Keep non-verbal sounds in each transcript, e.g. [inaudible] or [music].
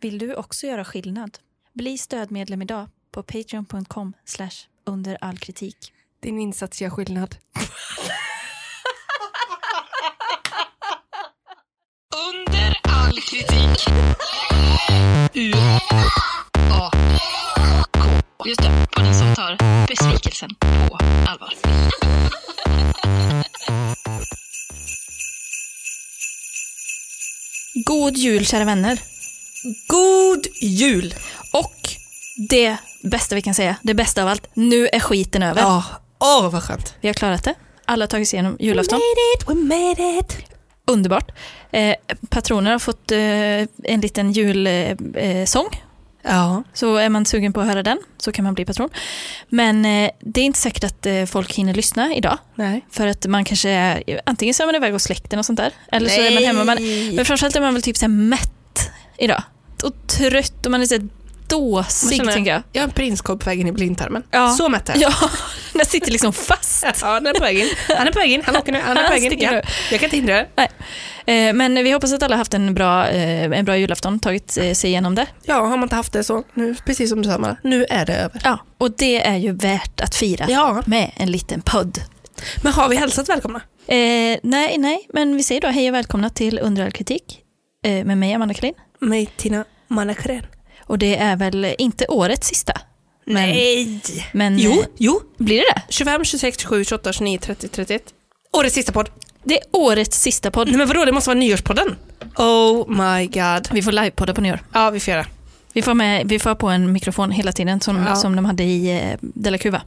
Vill du också göra skillnad? Bli stödmedlem idag på patreon.com under all kritik. Din insats gör skillnad. Under all kritik. U A K. Just det, podden som tar besvikelsen på allvar. God jul kära vänner. God jul! Och det bästa vi kan säga, det bästa av allt, nu är skiten över. Ja, åh vad skönt. Vi har klarat det. Alla har tagit sig igenom julafton. We made it! Underbart. Eh, patroner har fått eh, en liten julsång. Eh, sång. Ja, så är man sugen på att höra den så kan man bli patron. Men eh, det är inte säkert att eh, folk hinner lyssna idag. nej. För att man kanske är, antingen så är man iväg hos släkten och sånt där. Eller så är man hemma. Man, men framförallt är man väl typ så här mätt idag. Och trött och man är så här dåsig Man känner- tänker jag. Jag har en prinskorv på vägen i blindtarmen. Ja. Så mätt är jag. Ja, den sitter liksom fast. Ja, den är på vägen. Han är på vägen. Han åker nu. Han är Han på vägen. sticker Ja. nu. Jag kan inte hindra det. Eh, Men vi hoppas att alla haft en bra, eh, en bra julafton, tagit eh, sig igenom det. Ja, har man inte haft det så, nu, precis som du sa Mara, nu är det över. Ja. Och det är ju värt att fira Ja. med en liten podd. Men har vi hälsat välkomna? Eh, nej, nej, men vi säger då hej och välkomna till Under all kritik eh, med mig Amanda Kalin. Med Tina Manakren. Och det är väl inte årets sista? Men, Nej! Men Jo, eh, jo. blir det det? 25, 26, 27, 28, 29, 30, 31. Årets sista podd. Det är årets sista podd. Nej men vadå, det måste vara nyårspodden. Oh my god. Vi får livepodda på nyår. Ja, vi får göra. Vi får, med, vi får på en mikrofon hela tiden som, Ja. som de hade i eh, Della Cuva.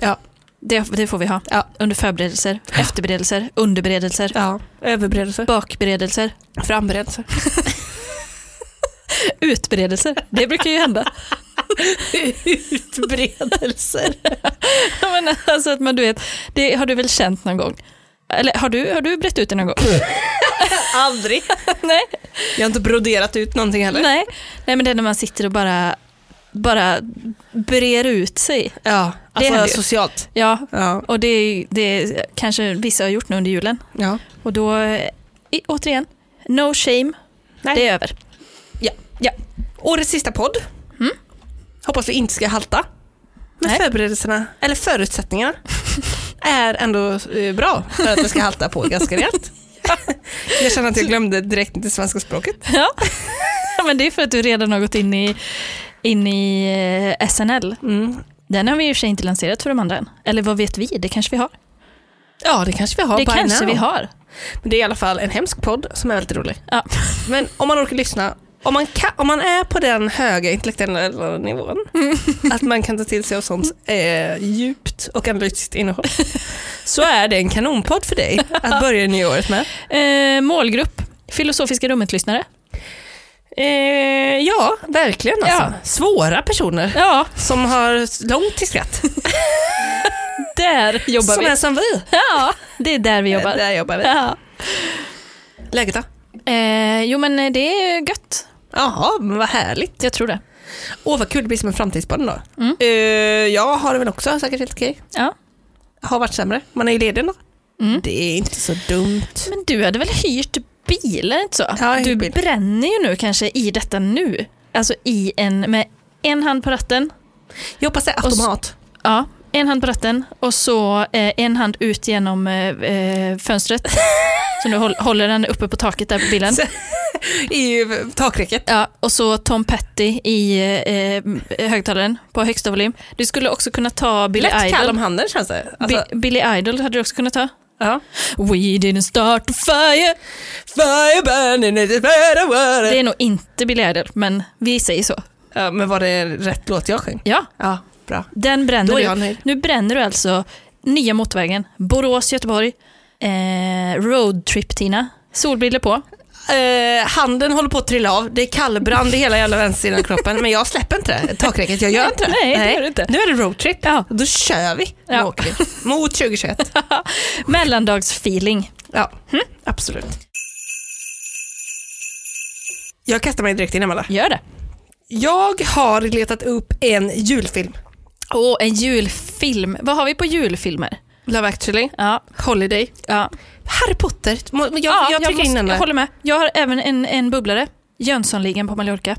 Ja. Det, det får vi ha. Ja. Under förberedelser, efterberedelser, underberedelser, Ja. Överberedelse. bakberedelser, [laughs] Framberedelse. utberedelser. Det brukar ju hända. Utbredelser. [laughs] Ja, Men alltså att man, du vet, det har du väl känt någon gång? Eller har du, har du brett ut det [clears throat] någon gång? [laughs] [laughs] Aldrig. Nej. Jag har inte broderat ut någonting heller. Nej. Nej, men det är när man sitter och bara, bara brer ut sig. Ja, alltså händer ju. socialt. Ja, Ja. och det, är- det är- kanske vissa har gjort nu under julen. ja. Och då, eh, i, återigen, no shame, Nej. det är över. [laughs] Årets sista podd. Mm. Hoppas vi inte ska halta. Men Nej. förberedelserna, eller förutsättningarna, är ändå eh, bra för att det ska halta på ganska [laughs] rejält. jag känner att jag glömde direkt det svenska språket. Ja. Ja, men det är för att du redan har gått in i, in i eh, SNL. Mm. Den har vi i och för sig inte lanserat för de andra än. Eller vad vet vi? Det kanske vi har. Ja, det kanske vi har det by kanske now. vi har. Men det är i alla fall en hemsk podd som är väldigt rolig. Ja. Men om man orkar lyssna, om man, kan, om man är på den höga intellektuella nivån, Mm. att man kan ta till sig av sånt eh, djupt och analytiskt innehåll, så är det en kanonpodd för dig att börja nyåret med. Eh, målgrupp, Filosofiska rummet-lyssnare. Eh, ja, verkligen alltså. Ja. Svåra personer Ja, som har långt till skratt. där jobbar som vi. är som vi. Ja, det är [laughs] där vi jobbar. Där jobbar vi. Ja. Läget då? Eh, jo, men eh, det är gött. Jaha, men vad härligt. Jag tror det. Åh, vad kul det blir som en framtidspodd då. Mm. Eh, jag har det väl också säkert helt okej. Ja. Har varit sämre. Man är ju ledig då. Mm. Det är inte så dumt. Men du hade väl hyrt bil, är det inte så? jag har hyrt du bil. bränner ju nu kanske i detta nu. Alltså i en, med en hand på ratten. Jag hoppas det är Och s- automat. Ja, en hand på ratten och så eh, en hand ut genom eh, eh, [laughs] fönstret. Så nu håll- håller den uppe på taket där på bilen. I eh, takräcket. Ja, och så Tom Petty i eh, högtalaren på högsta volym. Du skulle också kunna ta Billy Lätt kall om Idol. handen känns det. Alltså, Bi- Billy Idol hade du också kunnat ta. ja. We didn't start the fire. Fire burning, it is better water. Det är nog inte Billy Idol, men vi säger så. Ja, men var det rätt låt jag sjöng? Ja, Ja, bra. den bränner Då är du. jag nöjd. Nu bränner du alltså nya motorvägen, Borås-Göteborg, eh, roadtrip-Tina, solbriller på. Eh, handen håller på att trilla av. Det är kallbrand i hela jävla vänstersidan av kroppen. Men jag släpper inte det. Takräcket, jag gör inte det. Nej, det gör du inte. Nu är det roadtrip. Ja. Då kör vi. Då Ja. åker vi. Mot 2021. Mellandagsfeeling. Ja, absolut. Jag kastar mig direkt in Amanda. Gör det. Jag har letat upp en julfilm. Och en julfilm. Vad har vi på julfilmer? Love actually. Ja, Holiday. ja. Harry Potter. Må- men Jag, ja, jag trycker in den jag där. håller med. Jag har även en, en bubblare. Jönssonligan på [laughs] Mallorca.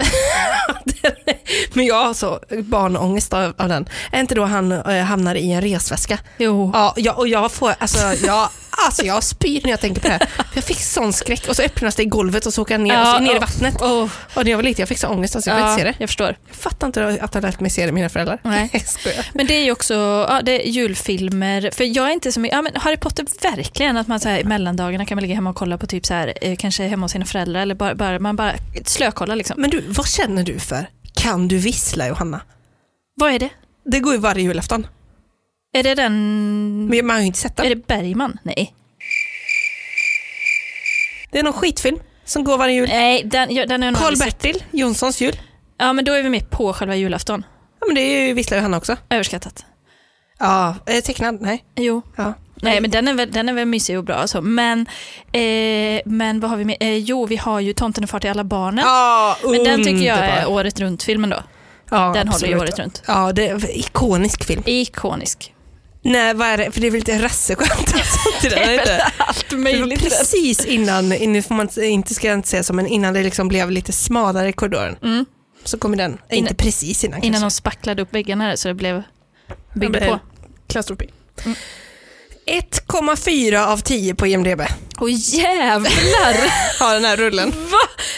Men jag har så barnångest av, av den. Är inte då han eh, hamnar i en resväska? Jo. Ja, jag, och jag får, alltså jag, alltså jag spyr när jag tänker på det här. Jag fick sån skräck och så öppnas det i golvet och så åker jag ner, och så Ja, ner i ja. vattnet. Oh, Och när jag var liten jag fick så ångest, alltså jag vill ja, inte se det. jag förstår. Jag fattar inte att jag lärt mig se det, mina föräldrar. Nej. [laughs] Jag skojar. Men det är ju också ja, det är julfilmer. För jag är inte så mycket, ja, men Harry Potter verkligen att man så här, i mellandagarna kan man ligga hemma och kolla på typ så här, eh, kanske hemma hos sina föräldrar eller bara, bara, man bara slökollar liksom. Men du, vad känner du för? Kan du vissla Johanna? Vad är det? Det går ju varje julafton. Är det den, Men man har ju inte sett är den. det Bergman? Nej. Det är någon skitfilm som går varje jul. Nej, den, ja, den är nog Mm. aldrig sett. Karl-Bertil Jonssons jul. Ja, men då är vi med på själva julafton. Ja men det är ju Vissla Johanna också. Överskattat. Ja, eh, tecknad, nej. Jo. Ja. Nej, men den är väl, den är väl mysig och bra. Alltså. Men, eh, men vad har vi med? Eh, jo, vi har ju Tomten är far till alla barnen. Ja, men den tycker jag är underbar. året runt-filmen då. Ja, den håller ju absolut. året runt. Ja, det är en ikonisk film. Ikonisk. Nej, vad är det? För det är väl lite rasseskämt och sånt i den, är [laughs] det inte? [laughs] Allt Det var precis innan, nu får man inte, ska jag inte säga så, men innan det liksom blev lite smalare i korridoren. Mm. Så kommer den, eh, Innan- inte precis innan, Innan kanske. de spacklade upp väggarna där, så det blev byggde Ja, på. men- Klaustrofobi. 1,4 av 10 på IMDB. Åh [laughs] jävlar! Ja, den här rullen.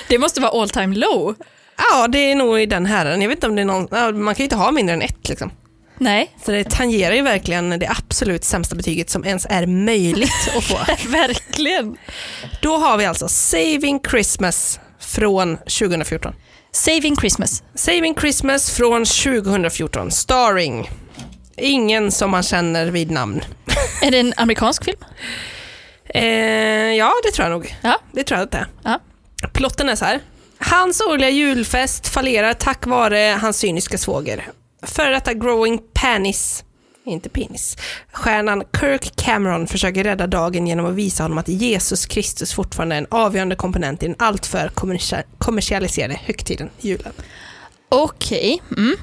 det måste vara all time low. Ja, det är nog i den här. Jag vet inte om det är någon, ja, man kan ju inte ha mindre än ett liksom. Nej, Så det tangerar ju verkligen det absolut sämsta betyget som ens är möjligt att få. [laughs] verkligen. Då har vi alltså Saving Christmas från 2014. Saving Christmas. Saving Christmas från 2014, starring ingen som man känner vid namn. Är det en amerikansk film? Eh, ja, det tror jag nog. Ja. Det tror jag att det är. Ja. Plotten är så här. Hans årliga julfest fallerar tack vare hans cyniska svåger. Före detta growing panis, inte penis, stjärnan Kirk Cameron försöker rädda dagen genom att visa honom att Jesus Kristus fortfarande är en avgörande komponent i den alltför kommersia- kommersialiserade högtiden, julen. Okej. Mm.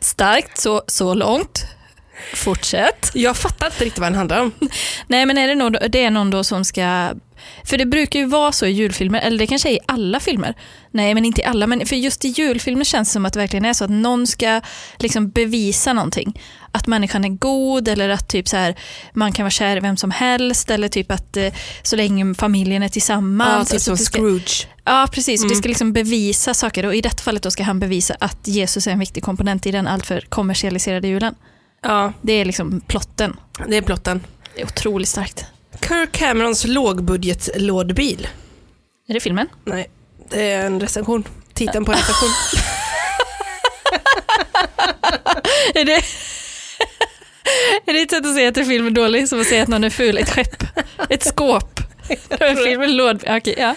Starkt så, så långt. Fortsätt. Jag fattar inte riktigt vad den handlar om. Nej men är det, någon, det är någon då som ska... För det brukar ju vara så i julfilmer, eller det kanske är i alla filmer. Nej men inte i alla, men för just i julfilmer känns det som att det verkligen är så att någon ska liksom bevisa någonting. Att människan är god eller att typ så här, man kan vara kär i vem som helst eller typ att eh, så länge familjen är Ja, tillsammans. typ och så som det ska- Scrooge. Ja, precis. Det ska liksom bevisa saker och i detta fallet då ska han bevisa att Jesus är en viktig komponent i den alltför kommersialiserade julen. Ja, Det är liksom plotten. det är plotten. Det är otroligt starkt. Kirk Camerons lågbudgetlådbil. Är det filmen? Nej, det är en recension. Titeln på en recension. Är det, [laughs] är det ett sätt att säga att en film är dålig som att säga att någon är ful? Ett skepp? Ett [laughs] skåp? En film är låd... Okej, ja.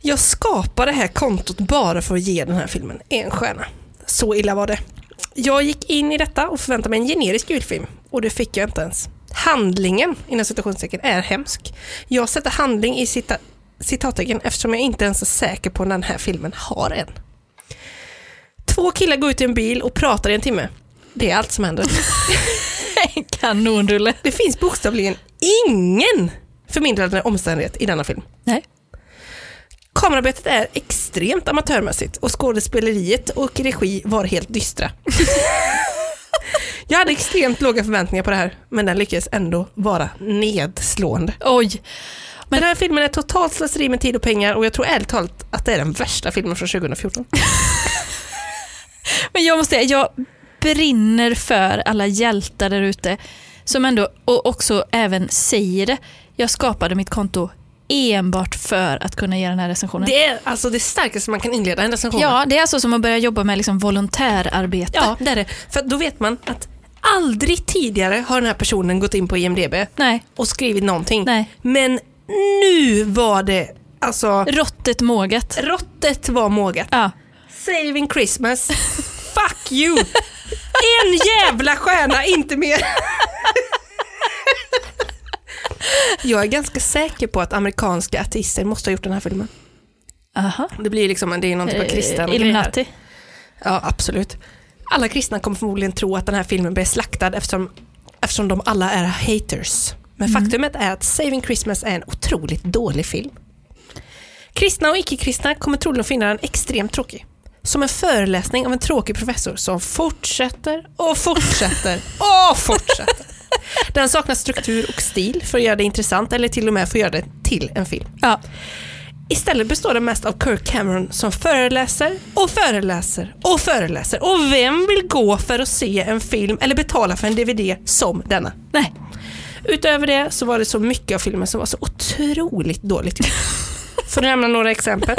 Jag skapade det här kontot bara för att ge den här filmen en stjärna. Så illa var det. Jag gick in i detta och förväntade mig en generisk julfilm och det fick jag inte ens. Handlingen, inom citationstecken, är hemsk. Jag sätter handling i cita- citattecken eftersom jag inte ens är säker på när den här filmen har en. Två killar går ut i en bil och pratar i en timme. Det är allt som händer. [laughs] En kanonrulle. Det finns bokstavligen ingen förmildrande omständighet i denna film. Nej. Kamerarbetet är extremt amatörmässigt och skådespeleriet och regi var helt dystra. Jag hade extremt låga förväntningar på det här, men den lyckades ändå vara nedslående. Oj. Men- den här filmen är totalt slöseri med tid och pengar och jag tror ärligt talat att det är den värsta filmen från 2014. Men jag måste säga, jag brinner för alla hjältar där ute som ändå, och också även säger det. Jag skapade mitt konto enbart för att kunna ge den här recensionen. Det är alltså det starkaste man kan inleda en recension med. ja, det är alltså som att börja jobba med liksom volontärarbete. ja, det är det. För då vet man att aldrig tidigare har den här personen gått in på IMDB Nej, och skrivit någonting. Nej. Men nu var det, alltså råttet mågat. råttet var mågat. Ja. Saving Christmas. Fuck you! En jävla stjärna, inte mer. Jag är ganska säker på att amerikanska artister måste ha gjort den här filmen. Aha. Det blir liksom, det är någon typ av kristen Eh, Illuminati. Ja, absolut. Alla kristna kommer förmodligen tro att den här filmen blev slaktad eftersom, eftersom de alla är haters. Men faktumet är att Saving Christmas är en otroligt dålig film. Kristna och icke-kristna kommer troligen att finna den extremt tråkig. Som en föreläsning av en tråkig professor som fortsätter och fortsätter och fortsätter. Den saknar struktur och stil för att göra det intressant eller till och med för att göra det till en film. Ja. Istället består den mest av Kirk Cameron som föreläser och föreläser och föreläser. Och vem vill gå för att se en film eller betala för en DVD som denna? Nej. Utöver det så var det så mycket av filmen som var så otroligt dåligt gjort. För att nämna några exempel.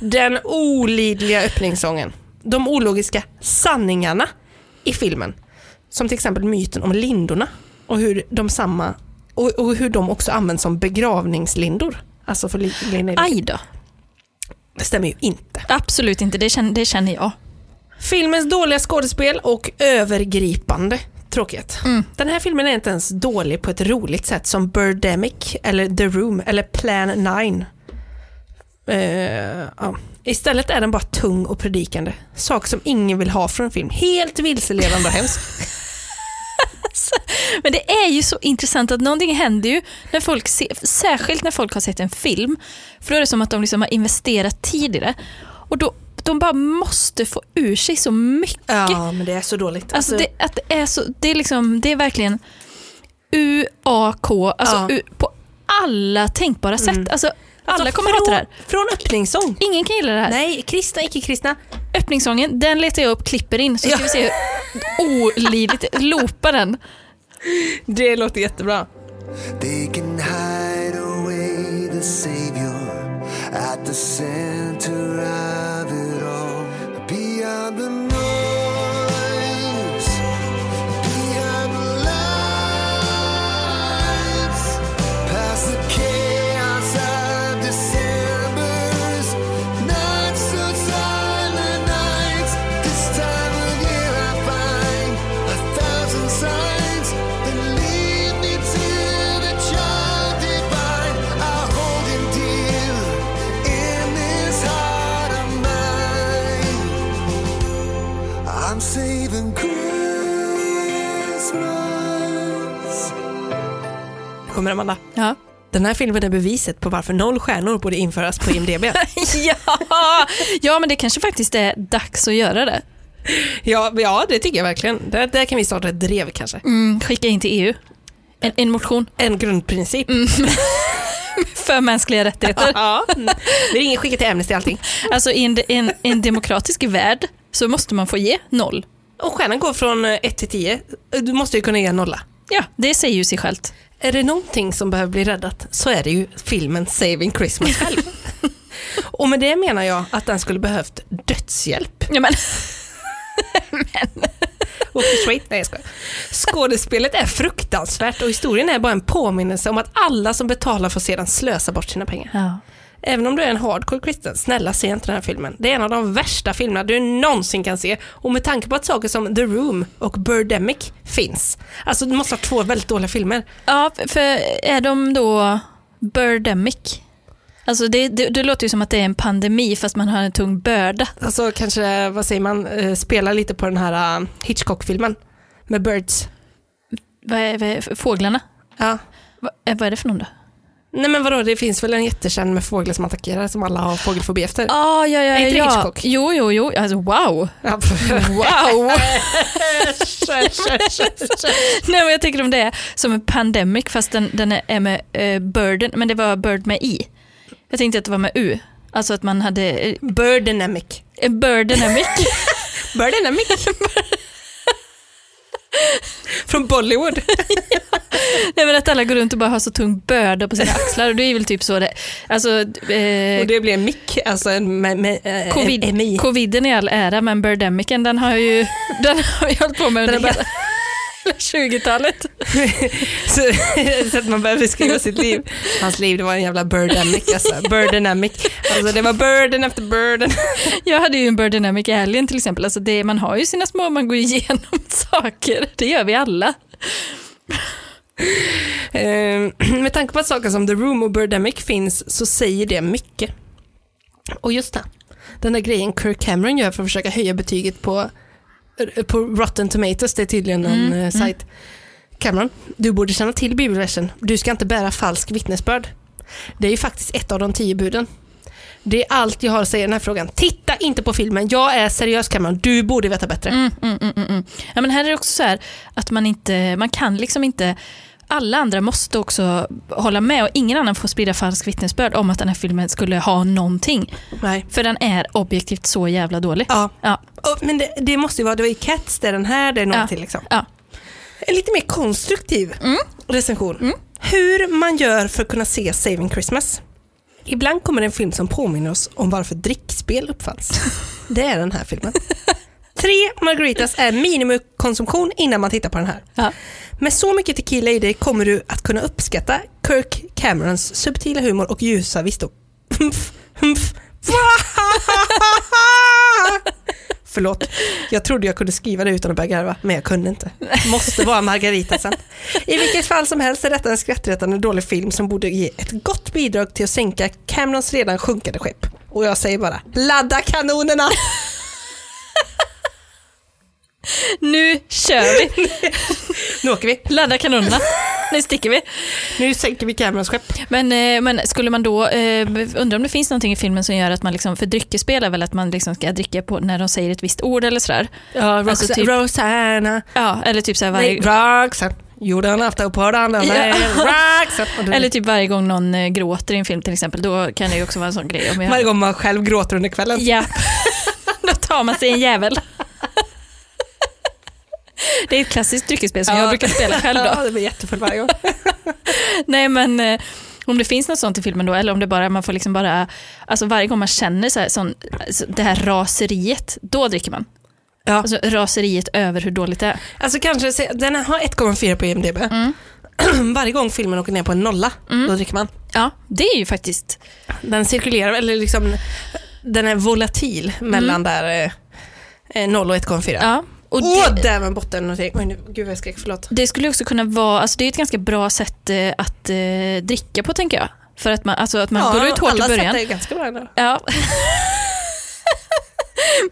Den olidliga öppningssången. De ologiska sanningarna i filmen. Som till exempel myten om lindorna och hur de, samma, och, och hur de också används som begravningslindor. Alltså för li, li, Aj då. Det stämmer ju inte. Absolut inte, det känner, det känner jag. Filmens dåliga skådespel och övergripande tråkighet. Den här filmen är inte ens dålig på ett roligt sätt som Birdemic, eller The Room eller Plan 9. Eh, ja. Istället är den bara tung och predikande. Sak som ingen vill ha från en film. Helt vilseledande och hemskt. Men det är ju så intressant att någonting händer ju när folk ser, särskilt när folk har sett en film. För då är det som att de liksom har investerat tid i det. Och då, de bara måste få ur sig så mycket. [laughs] Ja, men det är så dåligt. Alltså det, att det, är så, det, är liksom, det är verkligen UAK alltså Ja. U, på alla tänkbara sätt. Alltså, alla Alltså, kommer hata det här. Från öppningssång. Ingen kan gilla det här. Nej, kristna, icke-kristna. Öppningssången, den letar jag upp, klipper in så ska Ja. vi se hur [laughs] olidligt, loopa den. Det låter jättebra. They can hide away the Savior at the center of it all. Beyond the noise, beyond the lights, past the chaos of December's nights, so silent nights. This time of year I find a thousand signs that lead me to the child divine. I hold him dear in this heart of mine. I'm saving Christmas. Kommer Amanda. Ja. Den här filmen är beviset på varför noll stjärnor borde införas på IMDB. [laughs] [laughs] ja. ja, men det kanske faktiskt är dags att göra det. ja, ja, det tycker jag verkligen. Där, där kan vi starta ett drev kanske. Mm, skicka in till EU. En, en motion En grundprincip. för mänskliga [laughs] rättigheter. Ja. Vi ringer skicka till Amnesty allting. Alltså i en, en, en demokratisk värld så måste man få ge noll. Och stjärnan går från 1 till 10. Du måste ju kunna ge en nolla. Ja, det säger ju sig självt. Är det någonting som behöver bli räddat så är det ju filmen Saving Christmas själv. Och med det menar jag att den skulle behövt dödshjälp. Ja, men, Och för straight, nej jag skojar. Skådespelet är fruktansvärt och historien är bara en påminnelse om att alla som betalar får sedan slösa bort sina pengar. ja. Även om du är en hardcore kristen, snälla se inte den här filmen. Det är en av de värsta filmerna du någonsin kan se. Och med tanke på att saker som The Room och Birdemic finns. Alltså du måste ha två väldigt dåliga filmer. [laughs] ja, för är de då birdemic? Alltså det, det, det låter ju som att det är en pandemi fast man har en tung börda. Alltså kanske, vad säger man, eh, spela lite på den här eh, Hitchcock-filmen med Birds. Vad är, vad är, fåglarna? Ja. Vad, eh, vad är det för någon då? Nej men vadå, det finns väl en jättekänd med fåglar som attackerar som alla har fågelfobi efter. Ah, ja, ja, Är inte det ja. Hitchcock? Jo, jo, jo. Alltså, wow. Ja, [laughs] för- Wow. Äsch, äsch, äsch, äsch, äsch. [laughs] Nej, men jag tänker om det är som en pandemic fast den, den är- är med eh, birden, men det var bird med i. Jag tänkte att det var med u. Alltså att man hade eh, Birdemic. en birdemic. [laughs] Birdemic. Från Bollywood. Nej, men att alla går runt och bara har så tung börda på sina axlar och det är väl typ så det Alltså, eh, Och det blir en mick, alltså en me, me, eh, covid, en MI. coviden i all ära, men birdemicen den har [laughs] ju den har jag hållit på med under Den har hela [laughs] 20-talet. Så, så att man börjar beskriva sitt liv. Hans liv det var en jävla birdemic alltså. Birdemic. Alltså det var burden efter burden. Jag hade ju en birdemic i helgen till exempel. Alltså det, man har ju sina små, man går igenom [laughs] saker. Det gör vi alla. Eh, [clears throat] med tanke på att saker som The Room och Birdemic finns så säger det mycket. Och just det, den där grejen Kirk Cameron gör för att eh, mm. försöka höja betyget på, på Rotten Tomatoes, det är tydligen en mm. eh, sajt. Cameron, du borde känna till bibelversen. Du ska inte bära falsk vittnesbörd. Det är ju faktiskt ett av de tio buden. Det är allt jag har att säga i den här frågan. Titta inte på filmen. Jag är seriös Cameron. Du borde veta bättre. Mm, mm, mm, mm, mm. Ja, men här är det också så här att man inte, man kan liksom inte, alla andra måste också hålla med och ingen annan får sprida falsk vittnesbörd om att den här filmen skulle ha någonting. Nej. För den är objektivt så jävla dålig. Ja. Ja, Och- Men det, det måste ju vara, det var ju Cats, det är den här, det är några Ja. till. Liksom. ja. Mm. En lite mer konstruktiv recension. Hur man gör för att kunna se Saving Christmas. Ibland kommer en film som påminner oss om varför drickspel [laughs] uppfanns. Det är den här filmen. Tre margaritas är minimikonsumtion innan man tittar på den här. Ja. Med så mycket tequila i dig kommer du att kunna uppskatta Kirk Camerons subtila humor och ljusa visdom. Humph, humph. [laughs] Förlåt, jag trodde jag kunde skriva det utan att börja garva, men jag kunde inte. Måste vara Margarita sen. I vilket fall som helst är detta en skrattretande dålig film som borde ge ett gott bidrag till att sänka Camerons redan sjunkande skepp. Och jag säger bara, ladda kanonerna! Nu kör vi! Nu åker vi, Ladda kanonerna. Nu sticker vi. nu sänker vi Camerons skepp. Men, eh, men skulle man då, eh, undra om det finns någonting i filmen som gör att man, liksom, för dryckesspel är väl att man liksom ska dricka på när de säger ett visst ord eller sådär. Ja, Rox- Alltså typ- Rosanna, Ja, eller typ såhär varje, nej, Roxanne, gjorde en aftonpodden, den är Roxanne. [laughs] Eller typ varje gång någon eh, gråter i en film till exempel, då kan det ju också vara en sån grej. Om varje jag... gång man själv gråter under kvällen. Ja, [laughs] då tar man sig en jävel. Det är ett klassiskt dryckesspel som jag brukar spela själv då. Ja, det blir jättefull varje [laughs] gång. Nej men eh, om det finns något sånt i filmen då, eller om det bara, man får liksom bara, alltså varje gång man känner så här, sån, alltså, det här raseriet, då dricker man. Ja. Alltså raseriet över hur dåligt det är. Alltså kanske, se- den har 1,4 på IMDB. Mm. [clears throat] Varje gång filmen åker ner på en nolla, då dricker man. Ja, det är ju faktiskt, Den cirkulerar, eller liksom, den är volatil mellan där eh, eh, 0 och 1,4. Mm. ja. Och Åh, det, där var botten någonting. Oj, nu, gud vad jag skrek, förlåt. det skulle också kunna vara, alltså det är ett ganska bra sätt eh, att eh, dricka på tänker jag. För att man, alltså att man går ut hårt i alla början. satt det ganska bra ändå. Ja. [laughs]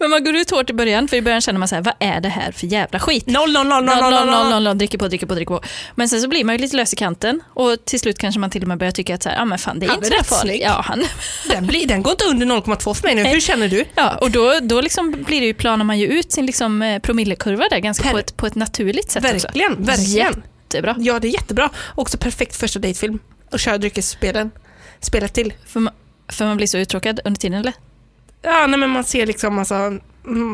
Men man går ut hårt i början, för i början känner man så här, vad är det här för jävla skit? 0, 0, 0, 0, 0, 0, 0, 0, 0, 0, dricker på, dricker på, dricker på. Men sen så blir man ju lite lös i kanten och till slut kanske man till och med börjar tycka att så här, ah, men fan, det är Han inte är så rätt farligt. snygg. Ja, han. [laughs] Den, blir, den går inte under 0,2 för mig nu. Hur känner du? ja, och då, då liksom blir det ju, planar man ju ut sin liksom, eh, promillekurva där ganska Per- på, ett, på ett naturligt sätt också. Verkligen, verkligen. Jättebra. Ja, det är jättebra. Också perfekt första dejtfilm. Och köra dryckesspelen. Spelet till. För man, för man blir så uttråkad under tiden eller? Ja, nej, men man ser liksom, alltså,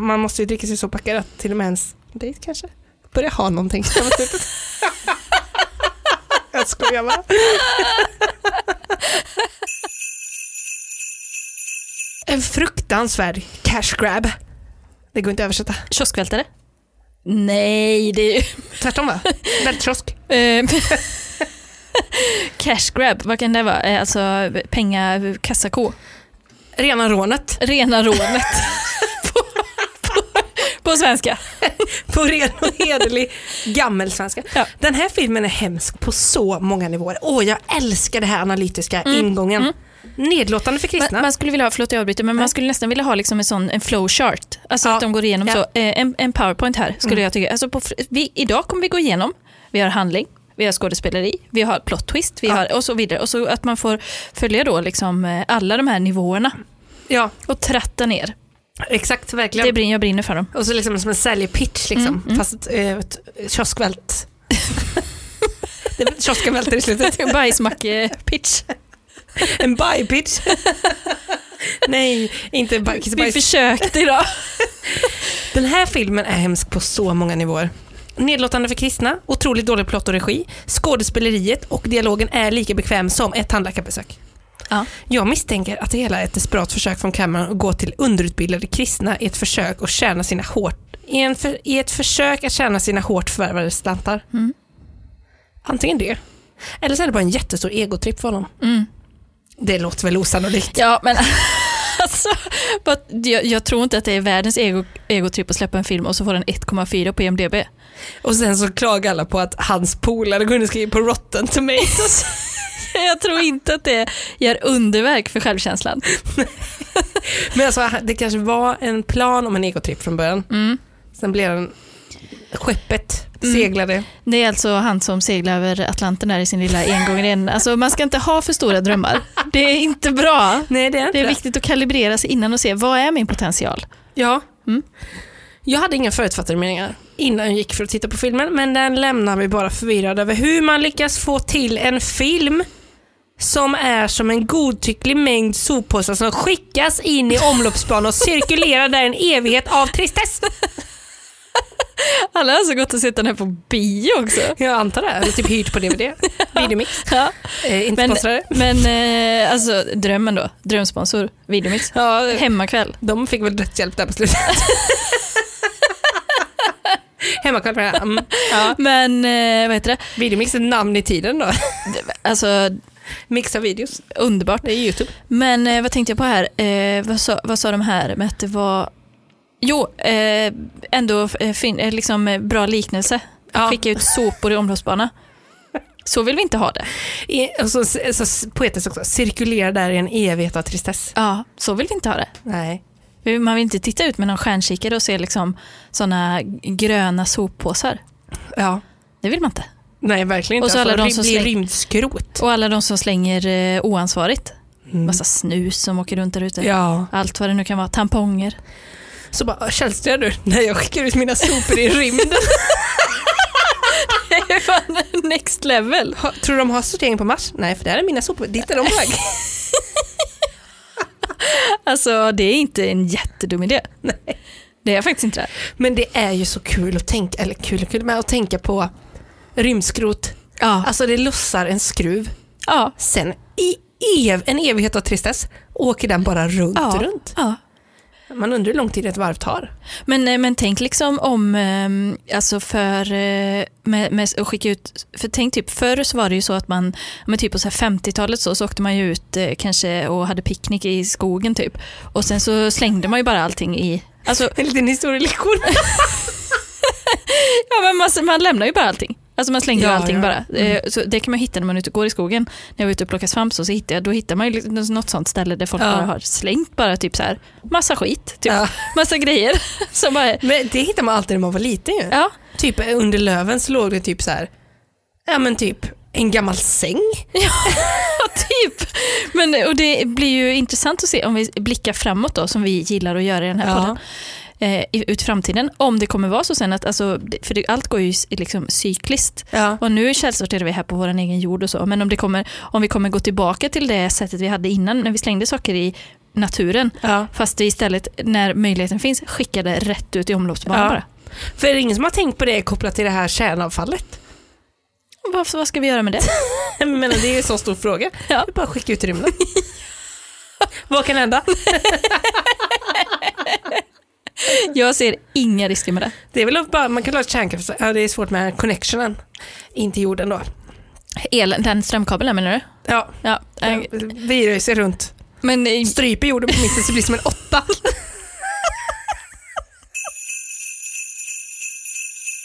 man måste ju dricka sig så packad att till och med ens dejt kanske börjar ha någonting. på [laughs] slutet. jag skojar bara. En fruktansvärd cash grab. Det går inte att översätta. Kioskvältare? Nej, det är ju... Tvärtom [laughs] va? Vältkiosk. Eh, [laughs] Cash grab, vad kan det vara? Eh, Alltså pengar, kassako. Rena rånet. Rena [laughs] rånet. på, på, på svenska. På ren och hederlig gammelsvenska. Ja. Den här filmen är hemsk på så många nivåer. Åh, jag älskar den här analytiska Mm, ingången. Nedlåtande för Man, kristna. man skulle vilja ha, förlåt jag avbryter, men man skulle nästan vilja ha liksom en sån en flowchart. Alltså Ja. att de går igenom Ja. Mm. så. Eh, En, en powerpoint här skulle jag tycka. Alltså på, fr- vi, idag kommer vi gå igenom, vi har handling, vi har skådespeleri, vi har plot twist vi Ja. har, och så vidare. Och så att man får följa då liksom eh, alla de här nivåerna ja, och tratta ner. exakt. Verkligen. Det Mm, brinner, jag brinner [laughs] för dem. Och så liksom som en säljpitch liksom. Fast eh, ett kioskvält. Det- Kiosken välter i slutet. eh, [laughs] Bajsmacke-pitch. En buy-pitch. [laughs] Nej, inte baj- Vi bajs. försökte idag. Den här filmen är hemsk på så många nivåer. Nedlåtande för kristna, otroligt dålig plott och regi, skådespeleriet och dialogen är lika bekväm som ett tandläkarbesök. [laughs] Ja. Jag misstänker att det hela är ett desperat försök från Cameron att gå till underutbildade kristna i ett försök att tjäna sina hårt i, en för, i ett försök att tjäna sina hårt förvärvade slantar. Antingen det, eller så är det bara en jättestor egotripp för honom. Det låter väl osannolikt. Ja, men [laughs] alltså, but, jag, jag tror inte att det är världens ego, egotripp att släppa en film och så får den 1,4 på IMDB. [laughs] Och sen så klagar alla på att hans polare kunde skriva på Rotten Tomatoes. Jag tror inte att det gör underverk för självkänslan. Men alltså, det Mm. kanske var en plan om en egotripp från början. Sen blev den skeppet. Seglade. Det är alltså han som seglar över Atlanten där i sin lilla engångare. igen. Alltså, man ska inte ha för stora drömmar. Det är inte bra. Nej, det är inte Det är viktigt att kalibrera sig innan och se vad är min potential. Ja. Mm. Jag hade inga förutfattade meningar innan jag gick för att titta på filmen, men den lämnar mig bara förvirrad över hur man lyckas få till en film som är som en godtycklig mängd soppåsar som skickas in i omloppsbanan och cirkulerar där en evighet av tristess. Alla har alltså gått och sett den här på bio också. [laughs] Jag antar det, eller typ hyrt på [laughs] DVD. Videomix. Ja. Eh, inte Men, [laughs] sponsrade. men eh, alltså drömmen då, drömsponsor, Videomix. Ja, Hemmakväll. de fick väl dödshjälp där på [laughs] slutet. Hemmakväll med det här. Mm. Ja. Men eh, vad heter det? Videomix är ett namn i tiden då. Alltså Mixa videos. underbart. Det är YouTube. Men eh, vad tänkte jag på här? Eh, vad, sa, vad sa de här med att det var... Jo, eh, ändå eh, fin, eh, liksom, eh, bra liknelse. Ja. Skicka ut sopor i omloppsbana. Så vill vi inte ha det. I, och så, så, så poetiskt också, cirkulerar där i en evighet av tristess. Ja, så vill vi inte ha det. Nej. Vi- Man vill inte titta ut med någon stjärnkikare och se liksom, sådana gröna soppåsar. Ja. Det vill man inte. Nej, verkligen inte. Och så alla de som alltså, det blir släng- rymdskrot. Och alla de som slänger eh, oansvarigt. Mm. Massa snus som åker runt där ute. Ja. Allt vad det nu kan vara. Tamponger. Så bara, tjänstgör du [laughs] när jag skickar ut mina sopor i rymden? Det är [laughs] fan next level. Ha- [laughs] Tror du de har sortering på Mars? Nej, för där är mina sopor. Dit är de på väg. Alltså det är inte en jättedum idé. Nej. Det är faktiskt inte det. Men det är ju så kul att tänka, eller kul och kul, men att tänka på rymdskrot. Ja. Alltså det lossar en skruv, ja. sen i ev, en evighet av tristess åker den bara runt, ja. runt. Ja. Man undrar hur lång tid ett varv tar. Men, eh, men tänk liksom om, ehm, alltså för, eh, med, med att skicka ut, för tänk typ förr så var det ju så att man, men typ på så här 50-talet så, så åkte man ju ut eh, kanske och hade picknick i skogen typ. Och sen så slängde man ju bara allting i, [laughs] alltså En liten historielektion. [laughs] Ja, men man, man lämnar ju bara allting. Alltså man slänger Ja, allting ja. Mm. bara. Eh, Så det kan man hitta när man är ute och går i skogen. När jag var ute och plockade svamp så, så hittar jag, då hittar man ju liksom något sånt ställe där folk Ja. bara har slängt bara typ så här, massa skit, typ. Ja. massa grejer. [laughs] Som bara, Men det hittar man alltid när man var liten ju. ja, Typ under löven så låg det typ så här, ja men typ en gammal säng. typ. Men, och det blir ju intressant att se om vi blickar framåt då, som vi gillar att göra i den här podden. Eh, i- ut i framtiden, om det kommer vara så sen att, alltså, det- för det, allt går ju s- liksom cykliskt. Ja. Och nu källsorterar vi här på vår egen jord och så, men om, det kommer, om vi kommer gå tillbaka till det sättet vi hade innan när vi slängde saker i naturen, Ja. fast vi istället när möjligheten finns skickar det rätt ut i omloppsbanan Ja. bara. För är det ingen som har tänkt på det kopplat till det här kärnavfallet? [laughs] Vad, vad ska vi göra med det? Men det är ju en så stor fråga. Ja. Det är bara att skicka ut i rymden. [laughs] Vad kan hända? [laughs] Jag ser inga risker med det. Det är väl bara, man kan ha ett kärnkraft, ja, det är svårt med connectionen in till jorden då. El, den strömkabeln menar du? Ja, Ja. eh, ja. virar sig runt, Men, eh, stryper jorden på mitten så blir det [laughs] som en åtta.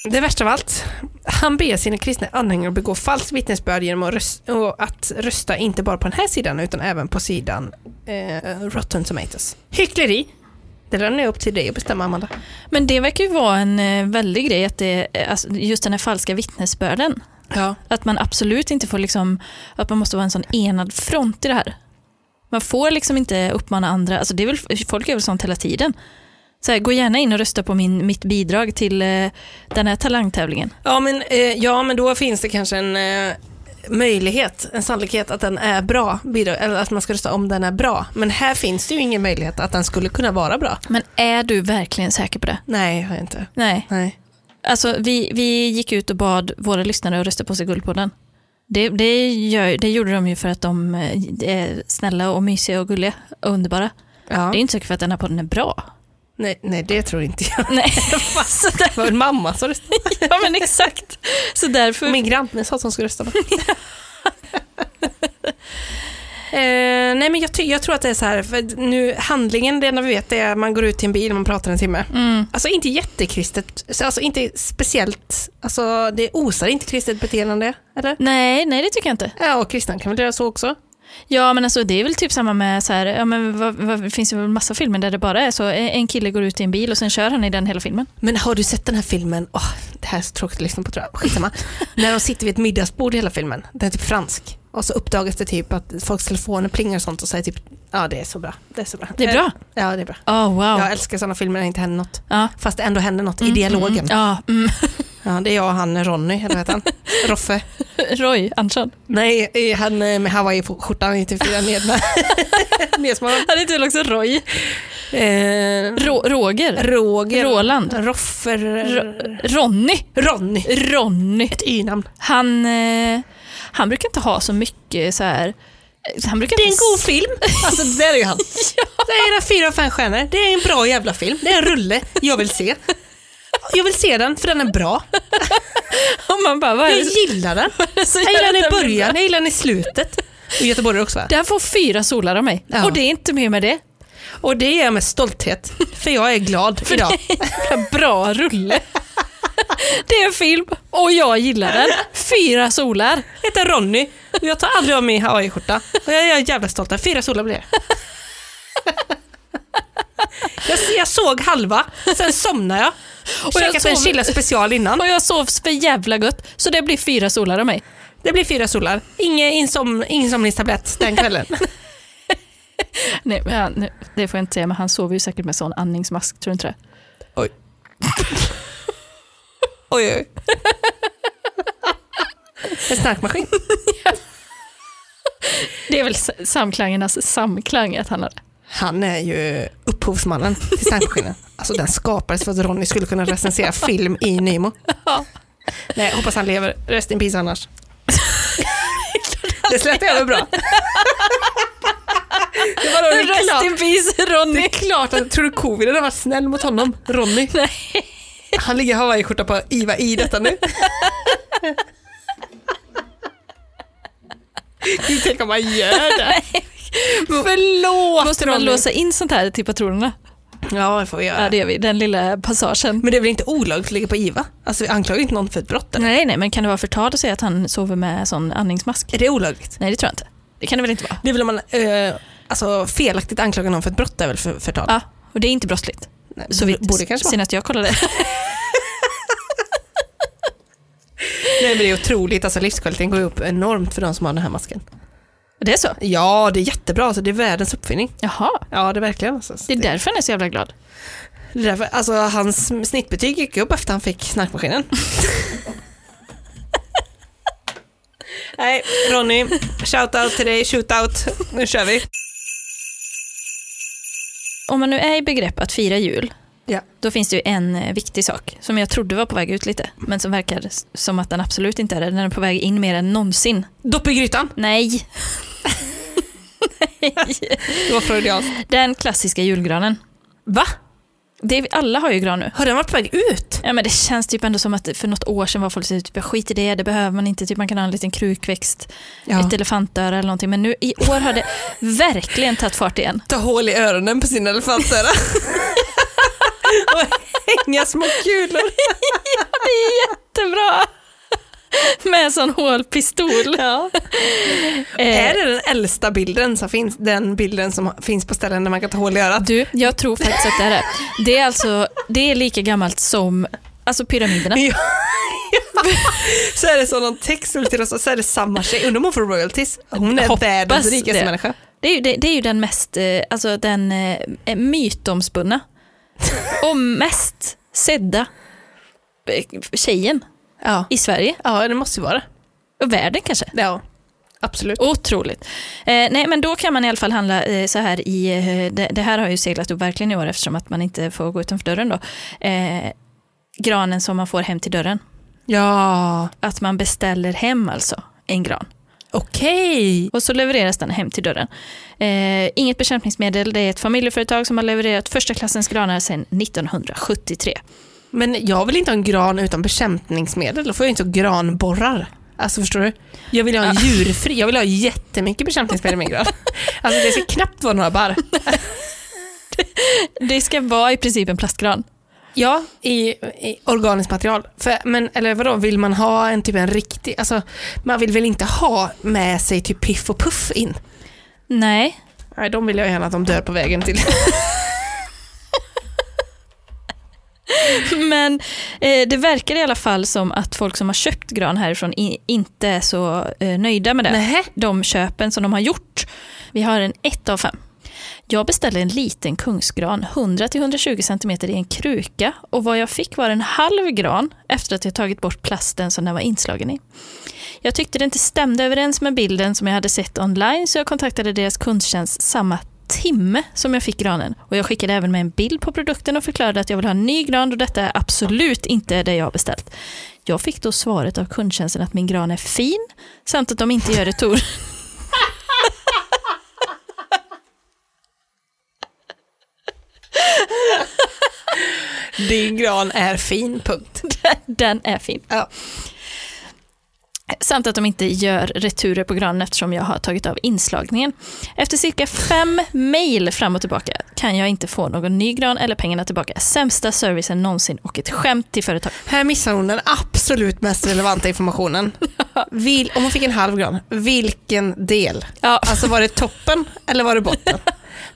Det värsta av allt, han ber sina kristna anhängare att begå falskt vittnesbörd genom att rösta, och att rösta inte bara på den här sidan utan även på sidan eh, Rotten Tomatoes. Hyckleri! Det lämnar jag upp till dig att bestämma Amanda. men det verkar ju vara en eh, väldig grej, att det, eh, alltså, just den här falska vittnesbörden. Ja. Att man absolut inte får, liksom, att man måste vara en sån enad front i det här. Man får liksom inte uppmana andra, alltså det är väl, folk är väl sånt hela tiden. Så här, gå gärna in och rösta på min, mitt bidrag till eh, den här talangtävlingen. Ja men, eh, ja, men då finns det kanske en eh, möjlighet, en sannolikhet att den är bra, bidra- eller att man ska rösta om den är bra. Men här finns det ju ingen möjlighet att den skulle kunna vara bra. Men är du verkligen säker på det? Nej, jag är inte. Nej. Nej. Alltså, vi, vi gick ut och bad våra lyssnare att rösta på sig Guldpodden. Det, det, gör, det gjorde de ju för att de eh, är snälla och mysiga och gulliga och underbara. Ja. Det är inte säkert för att den här podden är bra. [laughs] Nej, nej, det tror inte jag. Nej, så där, [laughs] Det var en mamma som röstade. ja men exakt. Så därför... Min granne sa att hon skulle rösta [laughs] på Eh, nej men jag, ty- jag tror att det är så här, för nu, handlingen, det enda vi vet är att man går ut till en bil och man pratar en timme. Mm. Alltså inte jättekristet, så alltså inte speciellt, alltså det osar inte kristet beteende, eller? Nej, nej det tycker jag inte. Ja, och kristna kan väl göra så också. Ja, men alltså, det är väl typ samma med, så här, ja, men vad, vad, det finns ju en massa filmer där det bara är så, en kille går ut i en bil och sen kör han i den hela filmen. Men har du sett den här filmen, Åh, det här är så tråkigt att lyssna på tror [laughs] jag, skitsamma. När de sitter vid ett middagsbord hela filmen, den är typ fransk. Och så uppdagas det typ att folks telefoner plingar och sånt och säger typ, ja det är så bra. Det är så bra. Det är bra. Eh, Ja det är bra. Oh, wow. Jag älskar sådana filmer där det inte händer något. Ja. Fast det ändå händer något i dialogen. Mm, ja, mm. [laughs] Ja, det är jag och han Ronny, eller vad heter han? Roffe. Roy Andersson. Nej, eh, han eh, med hawaii-skjortan i TV4 ned med [laughs] nedsmalad. Han heter väl också Roy? Eh, Rå, Roger? Roger. Roland? Roffer. Ro- Ronny? Ronny. Ronny. Ett y-namn. Han, eh, han brukar inte ha så mycket så här... eh, Han brukar Det är en inte god film. Alltså där är ju [laughs] han. Det är den fyra av fem stjärnor. Det är en bra jävla film. Det är en rulle. Jag vill se. Jag vill se den för den är bra. Och [laughs] man bara, vad är Jag det gillar [laughs] den. som Jag gör gillar den i att blir början, bra? jag gillar den i slutet. Och Göteborg också va? Det här får fyra solar av mig. Ja. Och det är inte mer med det. Och det är jag med stolthet. För jag är glad idag. Jävla Bra rulle. Det är en film och jag gillar den. Fyra solar. Jag heter Ronny och jag tar aldrig av mig hawaiiskjorta. Och jag är jävla stolt. över. Fyra solar blir det. Jag, jag såg halva, sen somnade jag. Och jag Käkat en sov- chilla special innan. Och jag sov för jävla gött så det blir fyra solar av mig. Det blir fyra solar. Ingen, insom, ingen somningstablett den kvällen. Nej, men han, nej, det får jag inte säga, men han sover ju säkert med sån andningsmask, tror du inte det? Oj. [laughs] Oj, oj. En snarkmaskin. Det är väl s- samklangernas samklang att han har det. Han är ju upphovsmannen [laughs] till snarkmaskinen. Alltså den skapades för att Ronny skulle kunna recensera film i Nemo. [laughs] Ja. Nej, jag hoppas han lever. Rest in [laughs] peace annars. Det släppte jag väl bra? Det var då det är Rest klart. in peace Det är Ronny. klart att, tror du covid hade varit snäll mot honom? Ronny? [laughs] Nej. Han ligger i hawaiiskjorta på IVA i [laughs] detta nu. Gud, tänk om han [laughs] gör det. Förlåt Måste man Ronny. låsa in sånt här till patronerna? Ja, det får vi göra. Ja, det gör vi. Den lilla passagen. Men det är väl inte olagligt att ligga på IVA? Alltså vi anklagar ju inte någon för ett brott. eller? Nej, nej, men kan det vara förtal att säga att han sover med sån andningsmask? Är det olagligt? Nej, det tror jag inte. Det kan det väl inte vara? Det är väl om man eh, alltså, felaktigt anklagar någon för ett brott är väl för, förtal? Ja, och det är inte brottsligt. Nej, Så vitt borde kanske vara. senast jag kollade. [laughs] Nej men det är otroligt, alltså livskvaliteten går ju upp enormt för de som har den här masken. Det är så? Ja, det är jättebra, alltså, det är världens uppfinning. Jaha, Ja, det är verkligen. Alltså. det är därför han är så jävla glad. Det är därför, alltså, hans snittbetyg gick upp efter han fick snarkmaskinen. Nej, Ronny, shoutout till dig, shootout. Nu kör vi. Om man nu är i begrepp att fira jul, Ja. då finns det ju en eh, viktig sak som jag trodde var på väg ut lite, men som verkar s- som att den absolut inte är det. Den är på väg in mer än någonsin. Dopp i grytan, Nej, [laughs] det var freudianskt. den klassiska julgranen. Va? Det är, alla har ju gran nu. Har den varit på väg ut? Ja, men det känns typ ändå som att för något år sedan var folk så här, typ, skit i det, det behöver man inte, typ, man kan ha en liten krukväxt, ett elefantöra eller någonting. Men nu i år har det verkligen tagit fart igen. Ta hål i öronen på sin [laughs] elefantöra. Och hänga små kulor. Det är jättebra! [laughs] Med en sån hålpistol. Eh, Är det den äldsta bilden som finns? Den bilden som finns på ställen där man kan ta hål i örat? Du, jag tror faktiskt att det är det. Det är alltså, det är lika gammalt som alltså pyramiderna. [laughs] Ja. så är det som någon text som till oss och så är det samma tjej. Undrar om hon får royalties? Hon är Hoppas världens rikaste det. människa. Det är ju, det, det är ju den mest, eh, alltså den eh, mytomspunna och mest sedda eh, tjejen Ja. i Sverige ja, det måste ju vara det. och världen kanske. Ja, absolut. Otroligt. Eh, nej, men då kan man i alla fall handla eh, så här i, eh, det, det här har ju seglat upp verkligen i år eftersom att man inte får gå utanför dörren då. Eh, granen som man får hem till dörren. Ja, Att man beställer hem alltså en gran. okej. Och så levereras den hem till dörren. Eh, inget bekämpningsmedel, det är ett familjeföretag som har levererat första klassens granar sedan 1973. Men jag vill inte ha en gran utan bekämpningsmedel. Då får jag inte ha granborrar. Alltså förstår du? Jag vill ha en djurfri. Jag vill ha jättemycket bekämpningsmedel i min [laughs] gran. Alltså det ska knappt vara några barr. Det ska vara i princip en plastgran. Ja, i, i organiskt material. För, men, eller vadå, vill man ha en typ en riktig, alltså man vill väl inte ha med sig typ piff och puff in? Nej. Nej, de vill jag gärna att de dör på vägen till. [laughs] Men eh, det verkar i alla fall som att folk som har köpt gran härifrån i, inte är så eh, nöjda med det. Nej. De köpen som de har gjort. Vi har en 1 av 5. Jag beställde en liten kungsgran, 100-120 cm i en kruka och vad jag fick var en halv gran efter att jag tagit bort plasten som den var inslagen i. Jag tyckte det inte stämde överens med bilden som jag hade sett online så jag kontaktade deras kundtjänst samma timme som jag fick granen. Och jag skickade även med en bild på produkten och förklarade att jag vill ha en ny gran och detta är absolut inte det jag har beställt. Jag fick då svaret av kundtjänsten att min gran är fin samt att de inte gör retur. [laughs] Din gran är fin, punkt. Den är fin. Ja. Samt att de inte gör returer på granen eftersom jag har tagit av inslagningen. Efter cirka fem mejl fram och tillbaka kan jag inte få någon ny gran eller pengarna tillbaka. Sämsta servicen någonsin och ett skämt till företag. Här missar hon den absolut mest relevanta [laughs] informationen. Vil, om hon fick en halv gran, vilken del? Ja. Alltså var det toppen eller var det botten?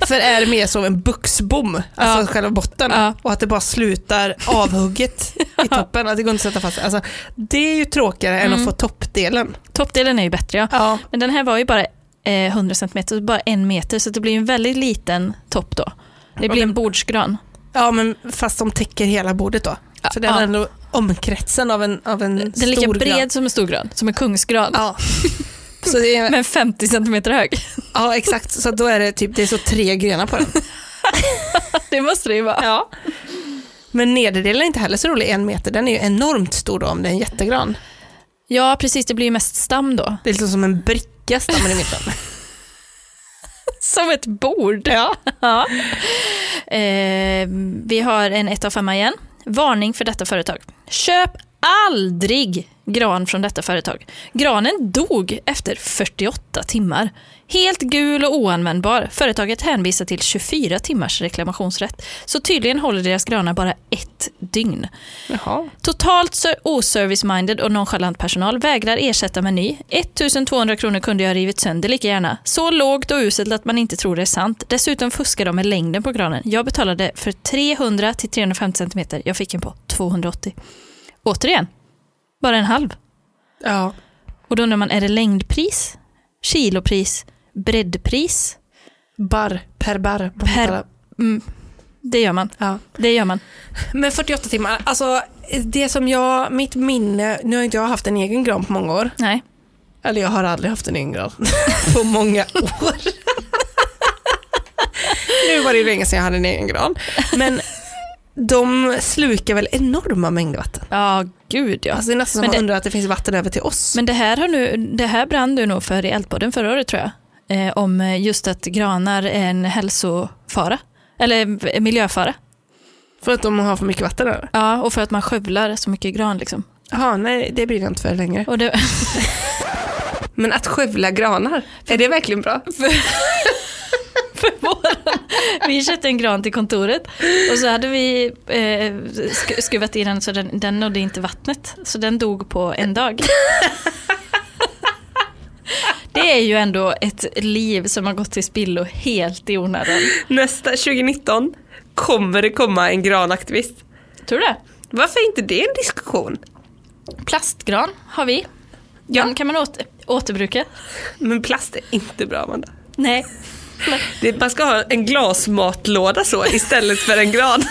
För är det mer som en buxbom, alltså själva botten, Ja. och att det bara slutar [laughs] avhugget i toppen, att det går inte att sätta fast. Alltså, det är ju tråkigare än att få toppdelen. Toppdelen är ju bättre Mm. ja. Ja. Men den här var ju bara eh, 100 cm, bara en meter, så det blir ju en väldigt liten topp då. Det blir en bordsgran. ja, men fast de täcker hela bordet då. Så det är Ja. ändå omkretsen av en, av en Den är stor lika bred gran. som en stor gran, som en kungsgran, Ja. Så det är, men 50 cm hög. ja, exakt. Så då är det typ, det är så tre grenar på den. [laughs] det måste det ju vara. Ja. Men nederdelen är inte heller så rolig, en meter. Den är ju enormt stor då, om det är en jättegran. Ja, precis, det blir ju mest stam då. Det är liksom som en bricka stammen i mitten. [laughs] Som ett bord. [laughs] Ja. Eh, vi har en 1 av 5 igen. Varning för detta företag. Köp aldrig gran från detta företag. Granen dog efter 48 timmar. Helt gul och oanvändbar. Företaget hänvisar till 24 timmars reklamationsrätt. Så tydligen håller deras granar bara ett dygn. Jaha. Totalt ser- oservice-minded och nonchalant personal vägrar ersätta med ny. 1200 kronor kunde jag rivit sönder lika gärna. Så lågt och uselt att man inte tror det är sant. Dessutom fuskar de med längden på granen. Jag betalade för 300 till 350 cm. Jag fick en på 280. Återigen, bara en halv. Ja. Och då undrar man, är det längdpris? Kilopris? Breddpris? Bar, per bar. på Per- Motala. Det gör man. Ja. Det gör man. Men 48 timmar, alltså det som jag, mitt minne, nu har inte jag haft en egen gran på många år. Nej. Eller jag har aldrig haft en egen gran [laughs] på många år. nu var det ju länge sedan jag hade en egen gran. Men de slukar väl enorma mängder vatten. Ja, gud ja. Alltså det är nästan som Men man det- undrar att det finns vatten över till oss. Men det här, har nu, det här brann du nog för i Eldpodden förra året tror jag. Eh, om eh, just att granar är en hälsofara. Eller eh, miljöfara. För att de har för mycket vatten där? Ja, och för att man skövlar så mycket gran. Liksom. Ja, nej det blir jag inte för längre. Och det, [laughs] Men att skövla granar, är det verkligen bra? vi köpte en gran till kontoret och så hade vi eh, sk- skruvat i den så den, den nådde inte vattnet. Så den dog på en dag. Det är ju ändå ett liv som har gått till spillo helt i onödan. Nästa 2019 kommer det komma en granaktivist. Tror du det? Varför är inte det en diskussion? Plastgran har vi. Ja. Den kan man åter, återbruka. Men plast är inte bra Amanda. Nej. Det, man ska ha en glasmatlåda så istället för en gran.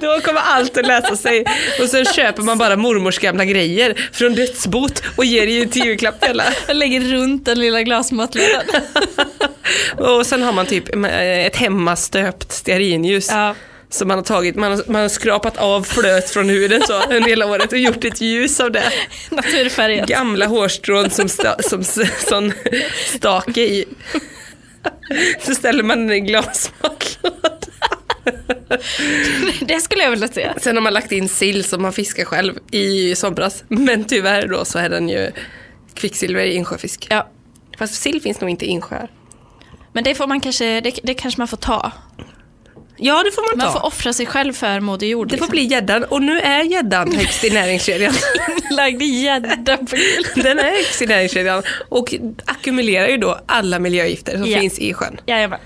Då kommer allt att läsa sig. Och sen köper man bara mormors gamla grejer från dödsbot och ger ju till julklapp till alla. Jag lägger runt den lilla glasmatlådan. Och sen har man typ eh, ett hemmastöpt stearinljus. [laughs] Ja. Som man har tagit, man har, man har skrapat av flöt från huden så under hela året och gjort ett ljus av det. Naturfärgat. Gamla hårstrån som, sta, som s- sån stake i. Så ställer man den i en glasmatlåda. Det skulle jag vilja se. Sen har man lagt in sill som man fiskar själv i somras. Men tyvärr då så är den ju kvicksilver i insjöfisk. Ja. Fast sill finns nog inte i insjöar. Men det, får man kanske, det, det kanske man får ta. Ja, det får man ta. Man får offra sig själv för Moder Jord. det får bli gäddan. Och nu är gäddan högst i [laughs] näringskedjan. inlagd i gädda på grill. [laughs] Den är högst i näringskedjan och ackumulerar ju då alla miljögifter som Ja. finns i sjön. Jajamän.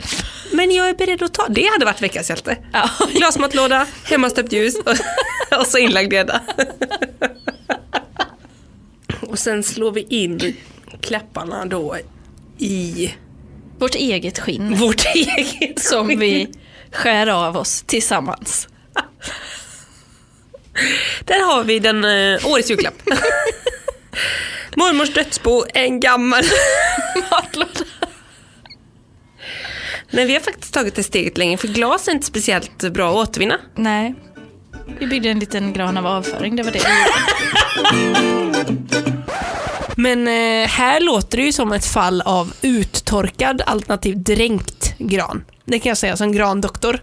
Men jag är beredd att ta, det hade varit veckans hjälte. Ja. [laughs] Glasmatlåda, hemmastöpt ljus och, [laughs] och så inlagd gädda. Och sen slår vi in klapparna då i Vårt eget skinn vårt [laughs] eget som vi skär av oss tillsammans. Där har vi den eh, årets [laughs] julklapp. Mormors dödsbo, en [laughs] gammal Matlåda. Men vi har faktiskt tagit det steget längre för glas är inte speciellt bra att återvinna. Nej. Vi byggde en liten gran av avföring, det var det vi gjorde. Men eh, här låter det ju som ett fall av uttorkad alternativt dränkt gran. Det kan jag säga som grandoktor.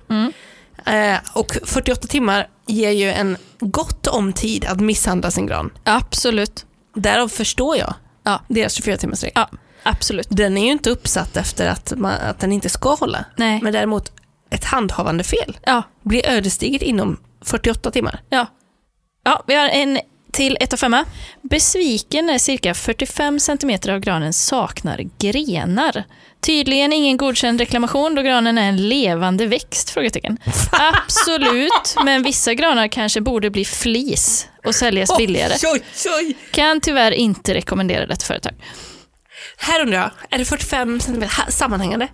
Eh, och 48 timmar ger ju en gott om tid att misshandla sin gran. Absolut. Därav förstår jag Ja. deras 24 timmars regel. Ja, absolut. Den är ju inte uppsatt efter att, man, att den inte ska hålla. Nej. Men däremot ett handhavande fel Ja, blir ödesdigert inom 48 timmar. ja. Ja, vi har en till ett och femma. Besviken är cirka 45 centimeter av granen saknar grenar. Tydligen ingen godkänd reklamation då granen är en levande växt? Frågetecken. Absolut, men vissa granar kanske borde bli flis och säljas billigare. Oj, oj. Kan tyvärr inte rekommendera detta företag. Här undrar jag, är det 45 centimeter ha- sammanhängande?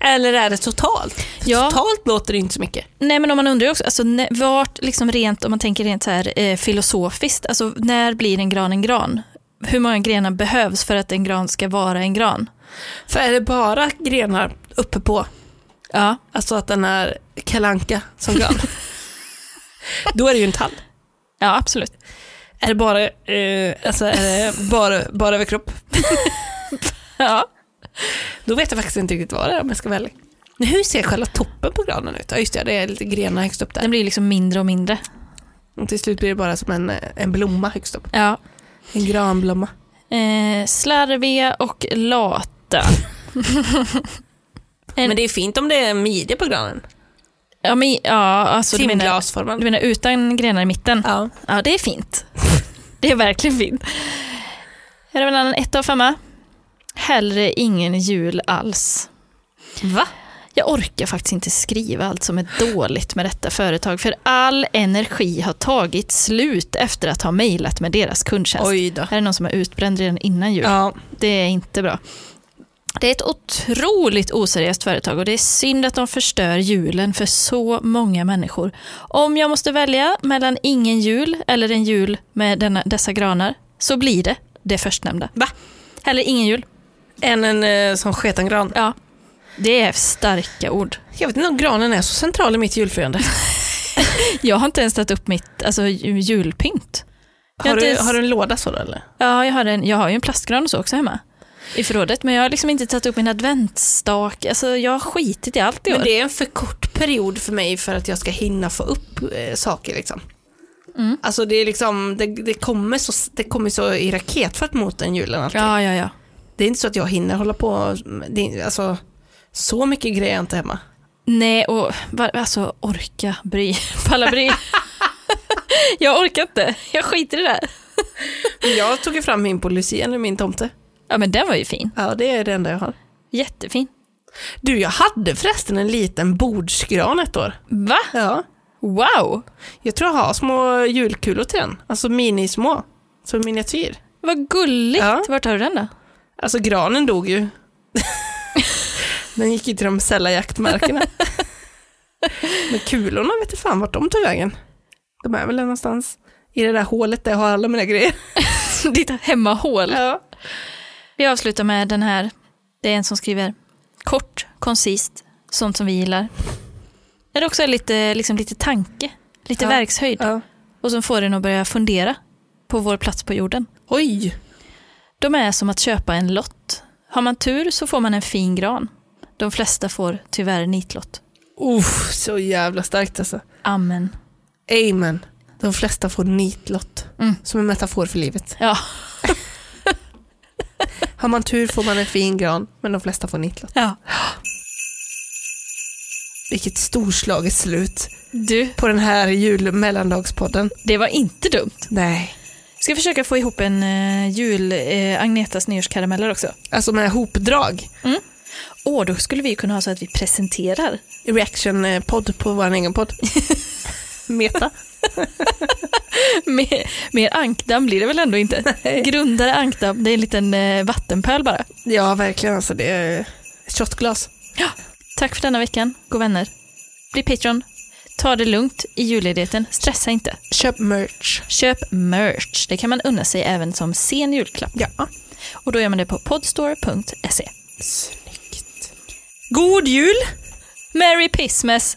Eller är det totalt? För Ja. Totalt låter det inte så mycket. Nej men om man undrar ju också, alltså, ne- vart liksom rent, om man tänker rent så här eh, filosofiskt, alltså när blir en gran en gran? Hur många grenar behövs för att en gran ska vara en gran? För är det bara grenar uppe på, Ja, alltså att den är kalanka som [laughs] gran, då är det ju en tall. ja absolut. Är det bara, eh, alltså är det bara, bara överkropp, Ja. då vet jag faktiskt inte riktigt vad det är om jag ska välja. Men hur ser själva toppen på granen ut? Ja just det, det är lite grenar högst upp Den där. blir liksom mindre och mindre. Och till slut blir det bara som en, eh, en blomma högst upp. Ja. En granblomma. Eh, slarviga och [laughs] lata. En- Men det är fint om det är en midja på granen. Ja, men, ja alltså du menar, Timglasformad. du menar utan grenar i mitten? Ja. Ja, det är fint. Det är verkligen fint. Här har vi en annan ett av femma. Hellre ingen jul alls. Va? Jag orkar faktiskt inte skriva allt som är dåligt med detta företag för all energi har tagit slut efter att ha mejlat med deras kundtjänst. Oj då. Här är någon som är utbränd redan innan jul. Ja. Det är inte bra. Det är ett otroligt oseriöst företag och det är synd att de förstör julen för så många människor. Om jag måste välja mellan ingen jul eller en jul med denna, dessa granar så blir det det förstnämnda. Va? Eller ingen jul. Än en eh, som sket en gran. Ja, det är starka ord. Jag vet inte om granen är så central i mitt julfirande. Jag har inte ens tagit upp mitt alltså, ju- julpynt. Jag Har inte du, ens- har du en låda så då, eller? Ja, jag har, en, jag har ju en plastgran och så också hemma i förrådet men jag har liksom inte tagit upp min adventsstake. Alltså, jag har skitit i allt i år. Men det är en för kort period för mig för att jag ska hinna få upp eh, saker liksom. Alltså det är liksom, det, det, kommer så, det kommer så i raketfart mot den julen alltid. Ja, ja, ja. Det är inte så att jag hinner hålla på, med- det, är- alltså så mycket grejer är inte hemma. Nej, och va- alltså orka bry, [laughs] palla [laughs] bry. jag orkar inte, jag skiter i det här. Jag tog ju fram min på Lucia nu, min tomte. Ja men den var ju fin, Ja det är det enda jag har. jättefin. Du jag hade förresten en liten bordsgran ett år. Va? Ja. Wow, Jag tror jag har små julkulor till den. Alltså minismå. Som miniatyr. vad gulligt. Ja. Vart har du den då? [laughs] Alltså granen dog ju. den gick ju till de [laughs] sälla jaktmarkerna. Men kulorna vet du fan vart de tog vägen. De är väl där någonstans i det där hålet där jag har alla mina grejer. Ditt hemmahål. Ja. Vi avslutar med den här. Det är en som skriver kort, koncist, sånt som vi gillar. Där det också är lite, liksom, lite tanke, lite Ja. verkshöjd. ja. Och som får en att börja fundera på vår plats på jorden. Oj! De är som att köpa en lott. Har man tur så får man en fin gran. De flesta får tyvärr nitlott. Uff, så jävla starkt alltså. Amen. Amen. De flesta får nitlott. Mm. Som en metafor för livet. Ja, [laughs] Har man tur får man en fin gran, men de flesta får nitlott. ja. Vilket storslaget slut Du, på den här julmellandagspodden. det var inte dumt. Nej. Ska försöka få ihop en eh, jul, eh, Agnetas nyårskarameller också. Alltså med hopdrag. Åh, då skulle vi kunna ha så att vi [laughs] presenterar. Reaction-podd på vår egen eh, podd. Meta. mer, mer ankdamm blir det väl ändå inte? Grundare ankdamm, det är en liten eh, vattenpöl bara. Ja, verkligen alltså. Det är ett shotglas. Tack för denna veckan, gå vänner. Bli Patreon. Ta det lugnt i julledigheten, stressa inte. Köp merch. Köp merch, det kan man unna sig även som sen julklapp. Ja. Och då gör man det på podstore.se. Snyggt. God jul! Merry Christmas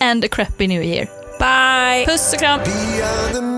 and a crappy new year. Bye! Puss och kram! Beyond the Oh,